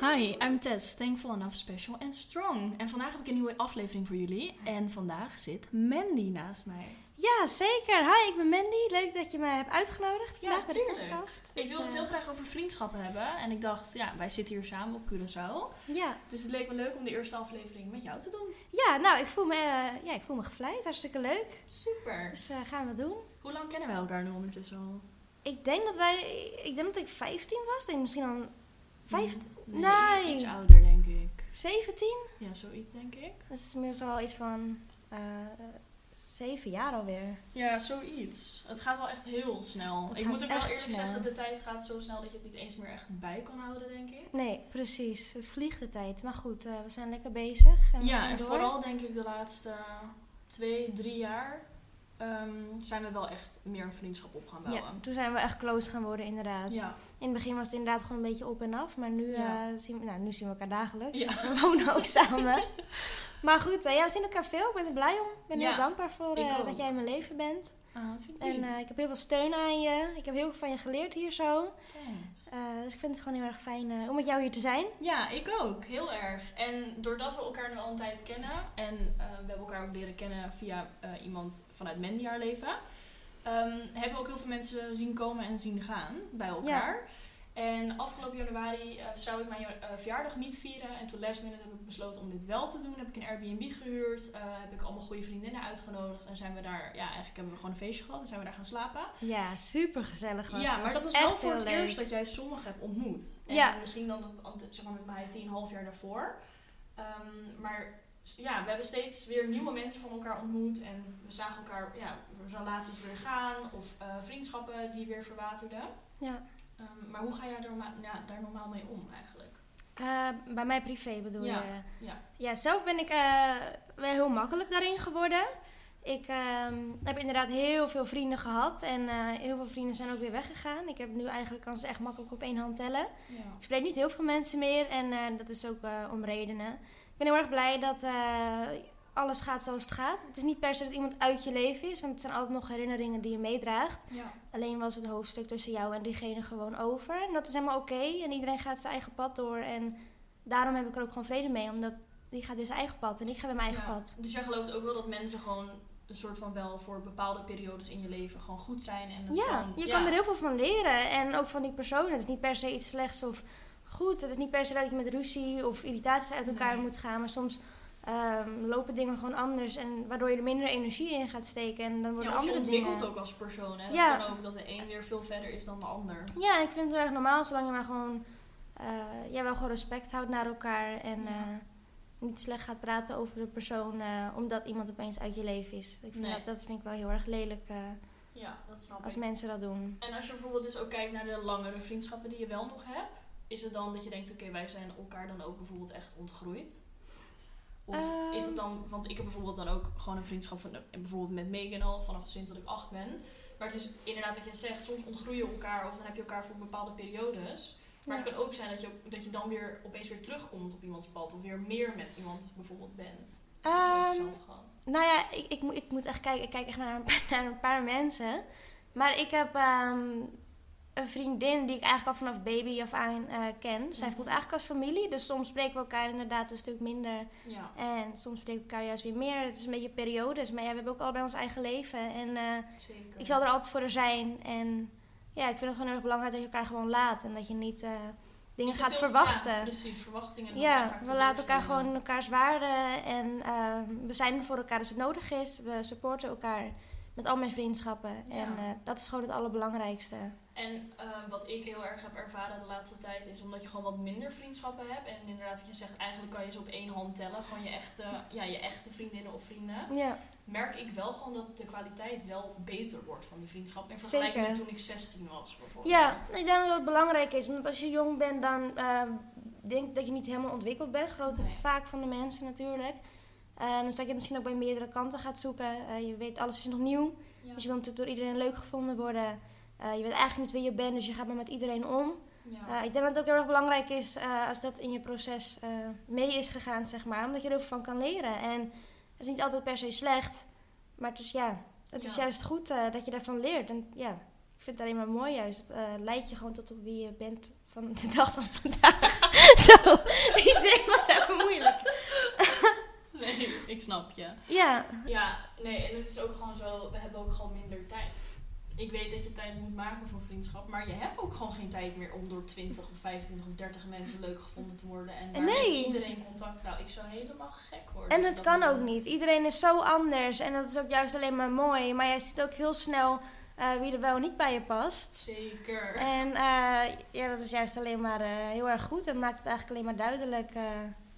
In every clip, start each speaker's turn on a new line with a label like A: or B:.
A: Hi, I'm Tess, Thankful Enough Special and Strong. En vandaag heb ik een nieuwe aflevering voor jullie. En vandaag zit Mandy naast mij.
B: Ja, zeker. Hi, ik ben Mandy. Leuk dat je mij hebt
A: Ja,
B: uitgenodigd vandaag bij de
A: tuurlijk.
B: podcast.
A: Ik
B: Dus,
A: wilde het
B: eh,
A: heel graag over vriendschappen hebben. En ik dacht, ja, wij zitten hier samen op Curaçao.
B: Ja.
A: Dus het leek me leuk om de eerste aflevering met jou te doen.
B: ja, nou, ik voel me, eh, ja, ik voel me gevleid. Hartstikke leuk.
A: Super.
B: Dus eh, gaan we doen.
A: Hoe lang kennen wij elkaar nu ondertussen al?
B: Ik denk dat wij, ik denk dat ik 15 was. Ik denk misschien al 15,
A: Nee,
B: Nee.
A: Iets ouder, denk ik.
B: 17.
A: Ja, zoiets, denk ik.
B: Dat is inmiddels al iets van eh 7 jaar alweer.
A: Ja, zoiets. Het gaat wel echt heel snel.
B: Het
A: ik
B: gaat
A: moet ook wel
B: echt
A: eerlijk
B: snel.
A: zeggen, de tijd gaat zo snel dat je het niet eens meer echt bij kan houden, denk ik.
B: Nee, precies. Het vliegt de tijd. Maar goed, eh, we zijn lekker bezig. we
A: ja,
B: gaan
A: en
B: door.
A: vooral denk ik de laatste twee, drie jaar ehm, zijn we wel echt meer een vriendschap op gaan
B: Ja,
A: bouwen.
B: toen zijn we echt close gaan worden inderdaad.
A: Ja,
B: In het begin was het inderdaad gewoon een beetje op en af. Maar nu,
A: Ja.
B: eh, zien, we, nou, nu zien we elkaar dagelijks.
A: Ja.
B: We wonen ook samen. Maar goed, eh, ja, we zien elkaar veel. Ik ben er blij om. Ik ben
A: Ja,
B: heel dankbaar voor
A: ik
B: eh,
A: ook. Mm.
B: dat jij in mijn leven bent.
A: vind
B: En eh, ik heb heel veel steun aan je. Ik heb heel veel van je geleerd hier zo.
A: Thanks.
B: Eh, dus ik vind het gewoon heel erg fijn eh, om met jou hier te zijn.
A: Ja, ik ook. Heel erg. En doordat we elkaar nu al een tijd kennen en eh, we hebben elkaar ook leren kennen via eh, iemand vanuit Mandy haar leven, ehm, hebben we ook heel veel mensen zien komen en zien gaan bij elkaar. En afgelopen januari eh, zou ik mijn eh, verjaardag niet vieren. En toen last minute heb ik besloten om dit wel te doen. Heb ik een Airbnb gehuurd. eh, heb ik allemaal goede vriendinnen uitgenodigd. En zijn we daar, ja, eigenlijk hebben we gewoon een feestje gehad. En zijn we daar gaan slapen.
B: Ja, super gezellig was
A: Ja,
B: het.
A: maar dat was
B: echt
A: wel voor
B: heel
A: het
B: leuk.
A: eerst dat jij sommigen hebt ontmoet. En
B: Ja.
A: misschien dan dat ant- zeg maar, met mij tien half jaar daarvoor. Ehm, maar s- ja, we hebben steeds weer nieuwe mensen van elkaar ontmoet. En we zagen elkaar ja, relaties weer gaan. Of eh, vriendschappen die weer verwaterden.
B: Ja.
A: Ehm, maar hoe ga jij daar, ma- ja, daar normaal mee om eigenlijk?
B: Eh, bij mij privé bedoel
A: Ja,
B: je?
A: ja.
B: Ja, zelf ben ik eh, wel heel makkelijk daarin geworden. Ik ehm, heb inderdaad heel veel vrienden gehad en eh, heel veel vrienden zijn ook weer weggegaan. Ik heb nu eigenlijk kan ze echt makkelijk op één hand tellen.
A: Ja.
B: Ik spreek niet heel veel mensen meer en eh, dat is ook eh, om redenen. Ik ben heel erg blij dat eh, alles gaat zoals het gaat. Het is niet per se dat iemand uit je leven is, want het zijn altijd nog herinneringen die je meedraagt.
A: Ja.
B: Alleen was het hoofdstuk tussen jou en diegene gewoon over. En dat is helemaal oké. En iedereen gaat zijn eigen pad door. En daarom heb ik er ook gewoon vrede mee. Omdat die gaat weer zijn eigen pad en ik ga weer mijn eigen
A: Ja.
B: pad.
A: Dus jij gelooft ook wel dat mensen gewoon een soort van wel voor bepaalde periodes in je leven gewoon goed zijn. En het
B: Ja,
A: gewoon,
B: je
A: ja.
B: kan er heel veel van leren. En ook van die persoon. Het is niet per se iets slechts of goed. Het is niet per se dat je met ruzie of irritaties uit elkaar
A: Nee.
B: moet gaan. Maar soms ehm, lopen dingen gewoon anders. En waardoor je er minder energie in gaat steken. En dan worden
A: Ja, of je
B: andere
A: ontwikkelt
B: dingen...
A: ook als persoon. Hè?
B: Ja.
A: Het kan ook dat de een weer veel verder is dan de ander.
B: Ja, ik vind het heel erg normaal zolang je maar gewoon, eh, ja, wel gewoon respect houdt naar elkaar en
A: Ja.
B: eh, niet slecht gaat praten over de persoon eh, omdat iemand opeens uit je leven is. Ik vind
A: Nee.
B: dat, dat vind ik wel heel erg lelijk eh,
A: Ja, dat snap
B: als
A: ik.
B: mensen dat doen.
A: En als je bijvoorbeeld dus ook kijkt naar de langere vriendschappen die je wel nog hebt, is het dan dat je denkt, oké, wij zijn elkaar dan ook bijvoorbeeld echt ontgroeid? Of
B: Ehm.
A: is het dan, want ik heb bijvoorbeeld dan ook gewoon een vriendschap van, eh, bijvoorbeeld met Megan al vanaf sinds dat ik acht ben. Maar het is inderdaad wat je zegt, soms ontgroei je elkaar of dan heb je elkaar voor bepaalde periodes. Maar
B: Ja.
A: het kan ook zijn dat je, dat je dan weer opeens weer terugkomt op iemands pad of weer meer met iemand bijvoorbeeld bent. Dat heb ik
B: Ehm,
A: zelf gehad.
B: Nou ja, ik, ik, moet- ik moet echt kijken. Ik kijk echt naar een paar, naar een paar mensen. Maar ik heb ehm, een vriendin die ik eigenlijk al vanaf baby af aan eh, ken. Zij
A: Mhm.
B: voelt eigenlijk als familie. Dus soms spreken we elkaar inderdaad een stuk minder.
A: Ja.
B: En soms spreken we elkaar juist weer meer. Het is een beetje periodes. Maar ja, we hebben ook allebei ons eigen leven. En eh,
A: Zeker.
B: ik zal er altijd voor er zijn. En ja, ik vind het gewoon heel erg belangrijk dat je elkaar gewoon laat. En dat je niet eh, dingen
A: Je
B: gaat
A: kunt heel-
B: verwachten.
A: Ja,
B: Ja,
A: precies, verwachtingen. dat zijn vaak
B: we laten elkaar
A: teleurstellingen.
B: gewoon elkaars waarde. En eh, we zijn er voor elkaar als het nodig is. We supporten elkaar met al mijn vriendschappen.
A: Ja.
B: En eh, dat is gewoon het allerbelangrijkste.
A: En eh, wat ik heel erg heb ervaren de laatste tijd is omdat je gewoon wat minder vriendschappen hebt. En inderdaad, wat je zegt, eigenlijk kan je ze op één hand tellen. Gewoon je echte, ja, je echte vriendinnen of vrienden.
B: Ja,
A: Merk ik wel gewoon dat de kwaliteit wel beter wordt van die vriendschap. In vergelijking
B: Zeker.
A: met toen ik 16 was bijvoorbeeld.
B: ja ik denk dat dat belangrijk is. Want als je jong bent, dan eh, denk ik dat je niet helemaal ontwikkeld bent. Groot
A: Nee.
B: vaak van de mensen natuurlijk. Eh, dus dat je het misschien ook bij meerdere kanten gaat zoeken. Eh, je weet, alles is nog nieuw.
A: Ja.
B: Dus je wil natuurlijk door iedereen leuk gevonden worden. Eh, je weet eigenlijk niet wie je bent, dus je gaat maar met iedereen om.
A: Ja.
B: Eh, ik denk dat het ook heel erg belangrijk is eh, als dat in je proces eh, mee is gegaan, zeg maar. Omdat je er heel veel van kan leren. En het is niet altijd per se slecht. Maar het is, ja, het is
A: Ja.
B: juist goed eh, dat je daarvan leert. En ja, ik vind het alleen maar mooi juist. Het eh, leidt je gewoon tot op wie je bent van de dag van vandaag. Zo, die zin was even moeilijk.
A: Nee, ik snap je.
B: Ja,
A: Ja, nee, en het is ook gewoon zo, we hebben ook gewoon minder tijd. Ik weet dat je tijd moet maken voor vriendschap, maar je hebt ook gewoon geen tijd meer om door 20 of 25 of 30 mensen leuk gevonden te worden. En waarmee
B: Nee.
A: iedereen contact te houden. Ik zou helemaal gek worden.
B: en
A: als
B: dat
A: ik
B: kan
A: moet
B: ook
A: doen.
B: niet. Iedereen is zo anders en dat is ook juist alleen maar mooi. Maar jij ziet ook heel snel eh, wie er wel en niet bij je past.
A: Zeker.
B: En eh, ja, dat is juist alleen maar eh, heel erg goed en maakt het eigenlijk alleen maar duidelijk. eh,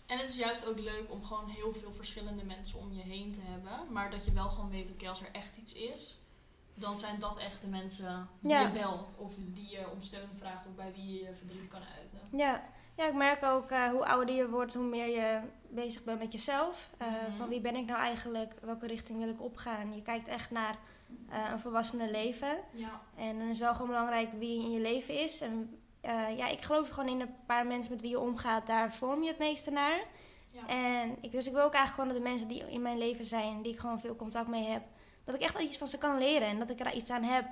A: En het is juist ook leuk om gewoon heel veel verschillende mensen om je heen te hebben. Maar dat je wel gewoon weet, oké, als er echt iets is, dan zijn dat echt de mensen die
B: Ja.
A: je belt. Of die je om steun vraagt of bij wie je verdriet kan uiten.
B: Ja, ja ik merk ook eh, hoe ouder je wordt, hoe meer je bezig bent met jezelf. Eh,
A: Mhm.
B: Van wie ben ik nou eigenlijk? Welke richting wil ik opgaan? Je kijkt echt naar eh, een volwassene leven.
A: Ja,
B: En dan is wel gewoon belangrijk wie in je leven is. En eh, ja, ik geloof gewoon in een paar mensen met wie je omgaat. Daar vorm je het meeste naar.
A: ja.
B: En ik, dus ik wil ook eigenlijk gewoon dat de mensen die in mijn leven zijn, die ik gewoon veel contact mee heb, dat ik echt wel iets van ze kan leren. En dat ik er iets aan heb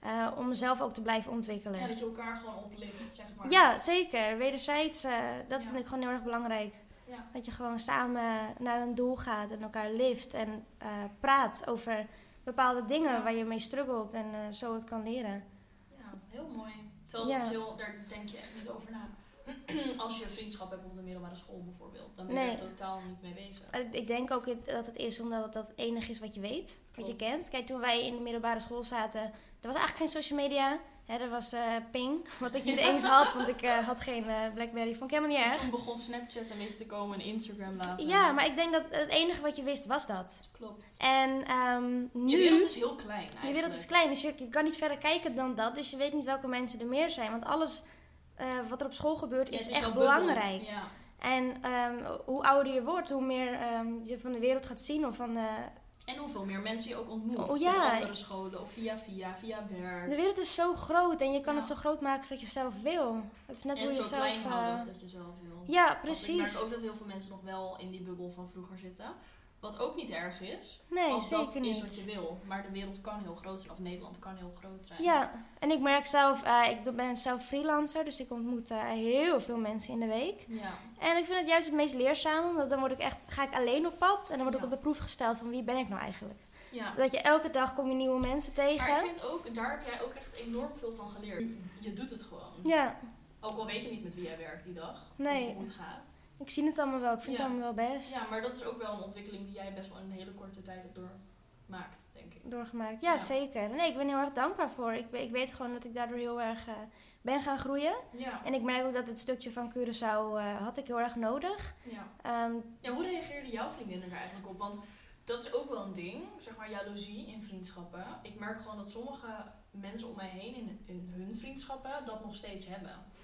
B: eh, om mezelf ook te blijven ontwikkelen.
A: ja, dat je elkaar gewoon oplicht, zeg maar.
B: Ja, zeker. Wederzijds, eh, dat
A: Ja.
B: vind ik gewoon heel erg belangrijk.
A: Ja.
B: Dat je gewoon samen naar een doel gaat en elkaar lift en eh, praat over bepaalde dingen
A: Ja.
B: waar je mee struggelt en eh, zo het kan leren.
A: Ja, heel mooi. Terwijl dat
B: Ja.
A: is heel, daar denk je echt niet over na. Als je vriendschap hebt op de middelbare school bijvoorbeeld, dan ben je
B: Nee.
A: er totaal niet mee bezig.
B: Eh, Ik denk ook het- dat het is omdat het dat het enige is wat je weet, wat je
A: Klopt.
B: kent. Kijk, toen wij in de middelbare school zaten, er was eigenlijk geen social media. Hè, er was eh, Ping, wat ik niet eens had, want ik eh, had geen eh, Blackberry. Vond ik helemaal niet erg.
A: Toen begon Snapchat een beetje te komen en Instagram later.
B: Ja, maar ik denk dat het enige wat je wist was dat.
A: Klopt.
B: En ehm, nu...
A: Je wereld is heel klein eigenlijk.
B: Je wereld is klein, dus je, je kan niet verder kijken dan dat. Dus je weet niet welke mensen er meer zijn. Want alles eh, wat er op school gebeurt
A: Ja,
B: is,
A: het
B: echt
A: wel bubbel.
B: belangrijk.
A: Ja.
B: En ehm, hoe ouder je wordt, hoe meer ehm, je van de wereld gaat zien. Of van, eh,
A: En hoeveel meer mensen je ook ontmoet
B: Oh, ja.
A: op andere scholen of via via, via werk.
B: de wereld is zo groot en je kan
A: Ja.
B: het zo groot maken als dat je zelf wil. Het is net
A: en
B: hoe je
A: zo
B: zelf...
A: klein houden
B: eh,
A: als dat je zelf wil.
B: ja,
A: Want Ik merk
B: precies.
A: ook dat heel veel mensen nog wel in die bubbel van vroeger zitten. Wat ook niet erg is,
B: Nee,
A: als
B: zeker
A: dat
B: niet.
A: is wat je wil. Maar de wereld kan heel groot zijn, of Nederland kan heel groot zijn.
B: Ja, en ik merk zelf, eh, ik doe- ben zelf freelancer, dus ik ontmoet eh, heel veel mensen in de week.
A: Ja.
B: En ik vind het juist het meest leerzaam, want dan word ik echt, ga ik alleen op pad en dan word ik
A: Ja.
B: op de proef gesteld van wie ben ik nou eigenlijk.
A: ja.
B: Dat je elke dag kom je nieuwe mensen tegen.
A: Maar ik vind ook, daar heb jij ook echt enorm veel van geleerd. Je doet het gewoon.
B: Ja,
A: Ook al weet je niet met wie jij werkt die dag.
B: Nee.
A: Of hoe het gaat.
B: ik zie het allemaal wel, ik vind
A: Ja.
B: het allemaal wel best
A: Ja, maar dat is ook wel een ontwikkeling die jij best wel in een hele korte tijd hebt doormaakt, denk ik.
B: doorgemaakt. Ja,
A: Ja.
B: zeker. Nee, ik ben heel erg dankbaar voor. Ik, be- ik weet gewoon dat ik daardoor heel erg eh, ben gaan groeien.
A: Ja.
B: En ik merk ook dat het stukje van Curaçao eh, had ik heel erg nodig.
A: ja.
B: Ehm,
A: Ja, hoe reageerden jouw vriendinnen daar eigenlijk op? Want dat is ook wel een ding, zeg maar jaloezie in vriendschappen. Ik merk gewoon dat sommige mensen om mij heen in, in hun vriendschappen dat nog steeds hebben.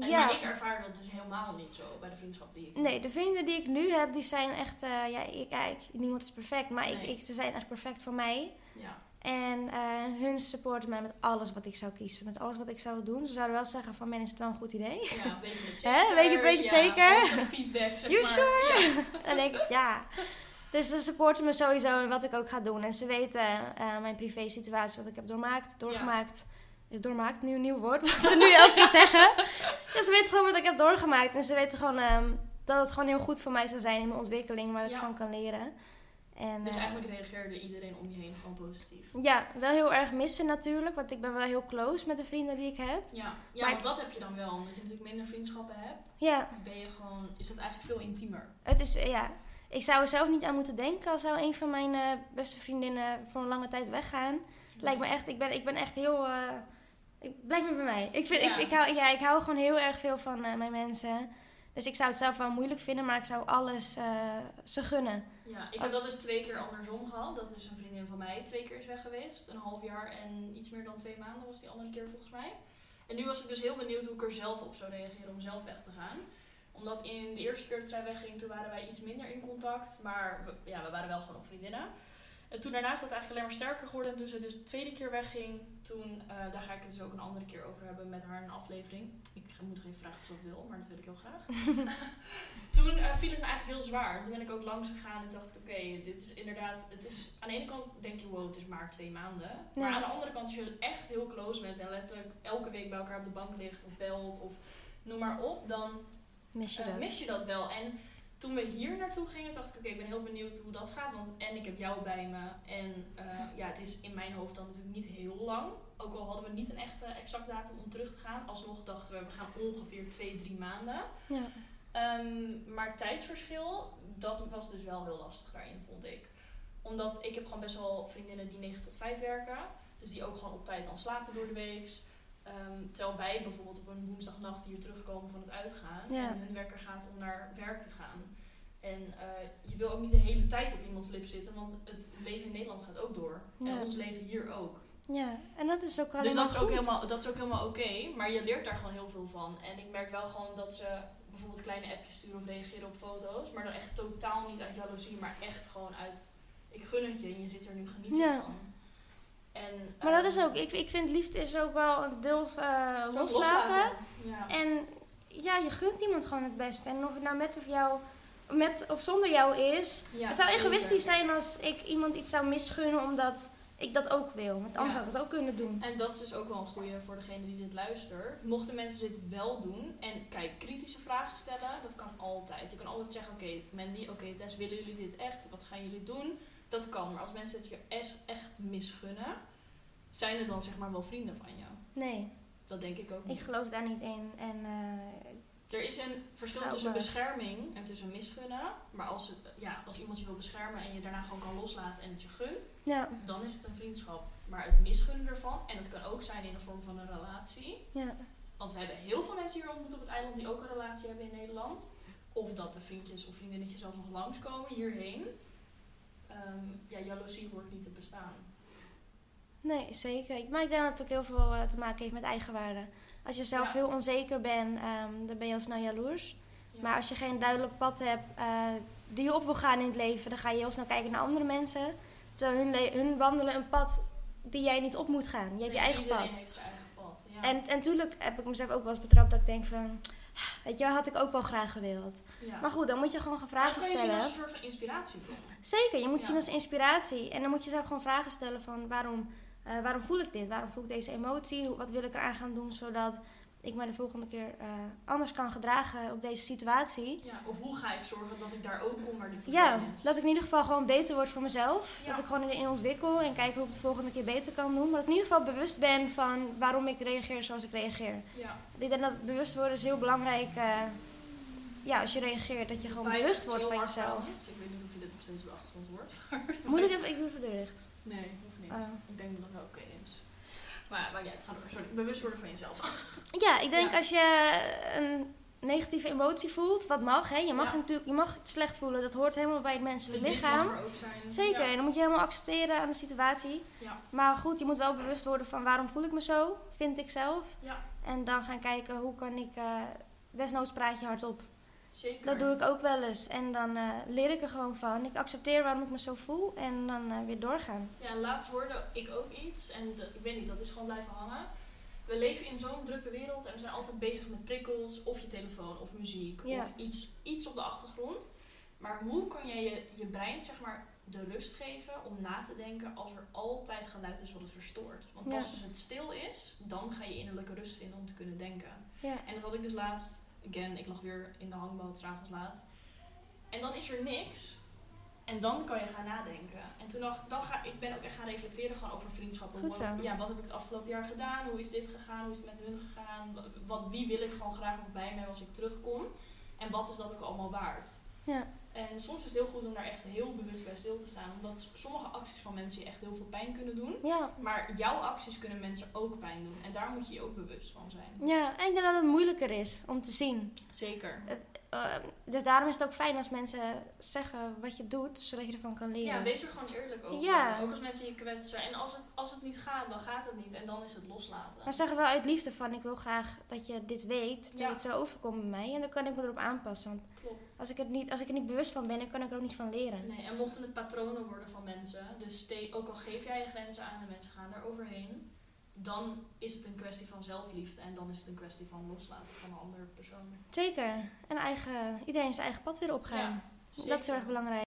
A: En,
B: ja.
A: Maar ik ervaar dat dus helemaal niet zo bij de vriendschap die ik heb.
B: Nee, de vrienden die ik nu heb, die zijn echt... eh, ja, ik, kijk, niemand is perfect, maar ik,
A: Nee.
B: ik, ze zijn echt perfect voor mij.
A: Ja.
B: En eh, hun supporten mij met alles wat ik zou kiezen. Met alles wat ik zou doen. Ze zouden wel zeggen van, men is het wel een goed idee.
A: ja, weet je het zeker?
B: Hè, weet je het- weet je het
A: Ja,
B: zeker?
A: dat soort feedback, zeg
B: You
A: maar.
B: sure?
A: Ja.
B: en denk ik, ja. Dus ze supporten me sowieso in wat ik ook ga doen. En ze weten eh, mijn privé situatie, wat ik heb doormaakt, doorgemaakt. Dus doormaakt, nu een nieuw woord, wat we nu elke keer zeggen. Ja, ze weten gewoon wat ik heb doorgemaakt. En ze weten gewoon ehm, dat het gewoon heel goed voor mij zou zijn in mijn ontwikkeling, waar ik
A: Ja.
B: van kan leren. En,
A: Dus
B: eh,
A: eigenlijk reageerde iedereen om je heen gewoon positief.
B: Ja, wel heel erg missen natuurlijk, want ik ben wel heel close met de vrienden die ik heb.
A: Ja, ja
B: Maar
A: want dat heb je dan wel. Omdat je natuurlijk minder vriendschappen hebt,
B: Ja,
A: ben je gewoon, is dat eigenlijk veel intiemer.
B: het is, eh, ja. Ik zou er zelf niet aan moeten denken als zou een van mijn eh, beste vriendinnen voor een lange tijd weggaan. Lijkt me echt, ik ben, ik ben echt heel. eh, ik, blijf maar bij mij. Ik, vind,
A: Ja.
B: ik, ik, hou, ja, ik hou gewoon heel erg veel van eh, mijn mensen. Dus ik zou het zelf wel moeilijk vinden, maar ik zou alles eh, ze gunnen.
A: Ja, ik heb
B: Als-
A: dat dus twee keer andersom gehad. Dat is een vriendin van mij twee keer is weg geweest. Een half jaar en iets meer dan twee maanden was die andere keer volgens mij. En nu was ik dus heel benieuwd hoe ik er zelf op zou reageren om zelf weg te gaan. Omdat in de eerste keer dat zij wegging, toen waren wij iets minder in contact. Maar we- ja, we waren wel gewoon nog vriendinnen. En toen daarna is dat eigenlijk alleen maar sterker geworden. En toen ze dus de tweede keer wegging, toen, eh, daar ga ik het dus ook een andere keer over hebben met haar in een aflevering. Ik moet geen vragen of ze dat wil, maar dat wil ik heel graag. toen eh, viel het me eigenlijk heel zwaar. Toen ben ik ook langs gegaan en dacht ik, oké, dit is inderdaad... Het is, aan de ene kant denk je, wow, het is maar twee maanden. Maar
B: Ja.
A: aan de andere kant, als je echt heel close bent en letterlijk elke week bij elkaar op de bank ligt of belt of noem maar op, dan
B: Mis je
A: eh,
B: dat?
A: mis je dat wel. En toen we hier naartoe gingen, dacht ik, oké, ik ben heel benieuwd hoe dat gaat. Want en ik heb jou bij me. En eh, ja, het is in mijn hoofd dan natuurlijk niet heel lang. Ook al hadden we niet een echte exact datum om terug te gaan. Alsnog dachten we, we gaan ongeveer twee, drie maanden.
B: Ja.
A: Ehm, maar tijdsverschil, dat was dus wel heel lastig daarin, vond ik. Omdat ik heb gewoon best wel vriendinnen die 9 tot 5 werken. Dus die ook gewoon op tijd dan slapen door de week. Ehm, terwijl wij bijvoorbeeld op een woensdagnacht hier terugkomen van het uitgaan.
B: Ja.
A: En hun werker gaat om naar werk te gaan. En eh, je wil ook niet de hele tijd op iemands lip zitten. Want het leven in Nederland gaat ook door.
B: Ja.
A: En ons leven hier ook.
B: ja, en dat is ook alleen
A: Dus
B: maar
A: dat is, ook
B: goed.
A: helemaal, dat is ook helemaal oké, maar je leert daar gewoon heel veel van. En ik merk wel gewoon dat ze bijvoorbeeld kleine appjes sturen of reageren op foto's, maar dan echt totaal niet uit jaloezie, maar echt gewoon uit ik gun het je en je zit er nu genieten
B: Ja.
A: van. En,
B: Maar dat
A: eh,
B: is ook, ik, ik vind liefde is ook wel een deel eh,
A: ook
B: loslaten.
A: Ja.
B: En ja, je gunt iemand gewoon het beste. En of het nou met of, jou, met of zonder jou is.
A: Ja,
B: het zou
A: zeker.
B: egoïstisch zijn als ik iemand iets zou misgunnen omdat ik dat ook wil. Want anders
A: Ja.
B: zou ik dat ook kunnen doen.
A: En dat is dus ook wel een goede voor degene die dit luistert. Mochten mensen dit wel doen en kijk, kritische vragen stellen, dat kan altijd. Je kan altijd zeggen, oké Mandy, oké Tess, willen jullie dit echt? Wat gaan jullie doen? Dat kan, maar als mensen het je es- echt misgunnen, zijn er dan zeg maar wel vrienden van jou?
B: Nee,
A: Dat denk ik ook niet.
B: ik geloof daar niet in. En eh,
A: Er is een verschil
B: Hou
A: tussen
B: maar.
A: bescherming en tussen misgunnen. Maar als, het- ja, als iemand je wil beschermen en je daarna gewoon kan loslaten en het je gunt,
B: ja,
A: dan is het een vriendschap. Maar het misgunnen ervan, en dat kan ook zijn in de vorm van een relatie,
B: ja.
A: Want we hebben heel veel mensen hier ontmoet op het eiland die ook een relatie hebben in Nederland. Of dat de vriendjes of vriendinnetjes zelfs nog langskomen hierheen. Ehm, ja, jaloezie hoort niet te bestaan.
B: Nee, zeker. Ik- Maar ik denk dat het ook heel veel eh, te maken heeft met eigenwaarde. Als je zelf
A: Ja.
B: heel onzeker bent, ehm, dan ben je al snel jaloers.
A: Ja.
B: Maar als je geen duidelijk pad hebt eh, die je op wil gaan in het leven, dan ga je heel snel kijken naar andere mensen. Terwijl hun, le- hun wandelen een pad die jij niet op moet gaan. Je hebt je
A: Nee,
B: eigen
A: iedereen
B: pad.
A: heeft zijn eigen pad. Ja.
B: En, en natuurlijk heb ik mezelf ook wel eens betrapt dat ik denk van... "Ah, Weet je, wel, had ik ook wel graag gewild.
A: ja.
B: Maar goed, dan moet je gewoon gaan vragen
A: Maar dat kan je zien
B: stellen.
A: als een soort van inspiratiebron.
B: Zeker, je moet het
A: Ja.
B: zien als inspiratie. En dan moet je zelf gewoon vragen stellen van waarom, eh, waarom voel ik dit? Waarom voel ik deze emotie? Hoe- Wat wil ik eraan gaan doen zodat ik me de volgende keer eh, anders kan gedragen op deze situatie?
A: Ja, of hoe ga ik zorgen dat ik daar ook kom waar die persoon
B: Ja,
A: is.
B: dat ik in ieder geval gewoon beter word voor mezelf.
A: Ja.
B: Dat ik gewoon erin ontwikkel en kijk hoe ik het de volgende keer beter kan doen. Maar dat ik in ieder geval bewust ben van waarom ik reageer zoals ik reageer.
A: Ja,
B: Want Ik denk dat bewust worden is heel belangrijk. eh, ja, als je reageert, dat je gewoon
A: Wij zijn
B: bewust
A: echt
B: wordt
A: heel
B: van
A: hard
B: jezelf.
A: veranderd. Ik weet niet of je dit op steeds op de achtergrond hoort.
B: Moet ik even, ik doe even de licht.
A: Nee, hoeft niet.
B: Oh.
A: Ik denk dat dat wel oké is. Maar ja, maar ja, het gaat door. Sorry, bewust worden van jezelf.
B: Ja, ik denk
A: Ja.
B: als je een negatieve emotie voelt, wat mag, hè? Je mag,
A: Ja.
B: natuurlijk, je mag het slecht voelen, dat hoort helemaal bij Dus het menselijk
A: Verdriet mag
B: lichaam.
A: er ook zijn.
B: Zeker,
A: Ja.
B: en dan moet je helemaal accepteren aan de situatie.
A: Ja.
B: Maar goed, je moet wel bewust worden van waarom voel ik me zo, vind ik zelf.
A: Ja.
B: En dan gaan kijken hoe kan ik, eh, desnoods praat je hardop.
A: Zeker.
B: Dat doe ik ook wel eens en dan eh, leer ik er gewoon van. Ik accepteer waarom ik me zo voel en dan eh, weer doorgaan.
A: Ja, en laatst hoorde ik ook iets, en dat- ik weet niet, dat is gewoon blijven hangen. We leven in zo'n drukke wereld en we zijn altijd bezig met prikkels, of je telefoon, of muziek,
B: Ja.
A: of iets, iets op de achtergrond. Maar hoe kan jij je, je brein, zeg maar, de rust geven om na te denken als er altijd geluid is wat het verstoort? Want
B: Ja.
A: pas als het stil is, dan ga je innerlijke rust vinden om te kunnen denken.
B: Ja.
A: En dat had ik dus laatst, again, ik lag weer in de hangboot, 's avonds laat. En dan is er niks. En dan kan je gaan nadenken. En toen dacht dan ga, ik ben ook echt gaan reflecteren gewoon over vriendschappen.
B: Goed
A: Hoe-
B: zo.
A: Ja, wat heb ik het afgelopen jaar gedaan? Hoe is dit gegaan? Hoe is het met hun gegaan? Wa- Wat, wie wil ik gewoon graag nog bij mij als ik terugkom? En wat is dat ook allemaal waard?
B: Ja.
A: En soms is het heel goed om daar echt heel bewust bij stil te staan. Omdat s- sommige acties van mensen je echt heel veel pijn kunnen doen.
B: Ja.
A: Maar jouw acties kunnen mensen ook pijn doen. En daar moet je je ook bewust van zijn.
B: ja, en ik denk dat het moeilijker is om te zien.
A: Zeker.
B: Eh, dus daarom is het ook fijn als mensen zeggen wat je doet, zodat je ervan kan leren.
A: Ja, wees er gewoon eerlijk over.
B: Ja.
A: Ook als mensen je kwetsen. En als het, als het niet gaat, dan gaat het niet. En dan is het loslaten.
B: maar zeg er wel uit liefde van, ik wil graag dat je dit weet, dat
A: Ja.
B: het zo overkomt bij mij. En dan kan ik me erop aanpassen. Want
A: Klopt.
B: als ik, het niet, als ik er niet bewust van ben, dan kan ik er ook niet van leren.
A: Nee, en mochten het patronen worden van mensen, dus ste- ook al geef jij je grenzen aan en mensen gaan daar overheen, dan is het een kwestie van zelfliefde en dan is het een kwestie van loslaten van een andere persoon.
B: Zeker. En eigen, iedereen zijn eigen pad weer opgaan.
A: Ja,
B: dat is heel
A: zeker.
B: erg belangrijk.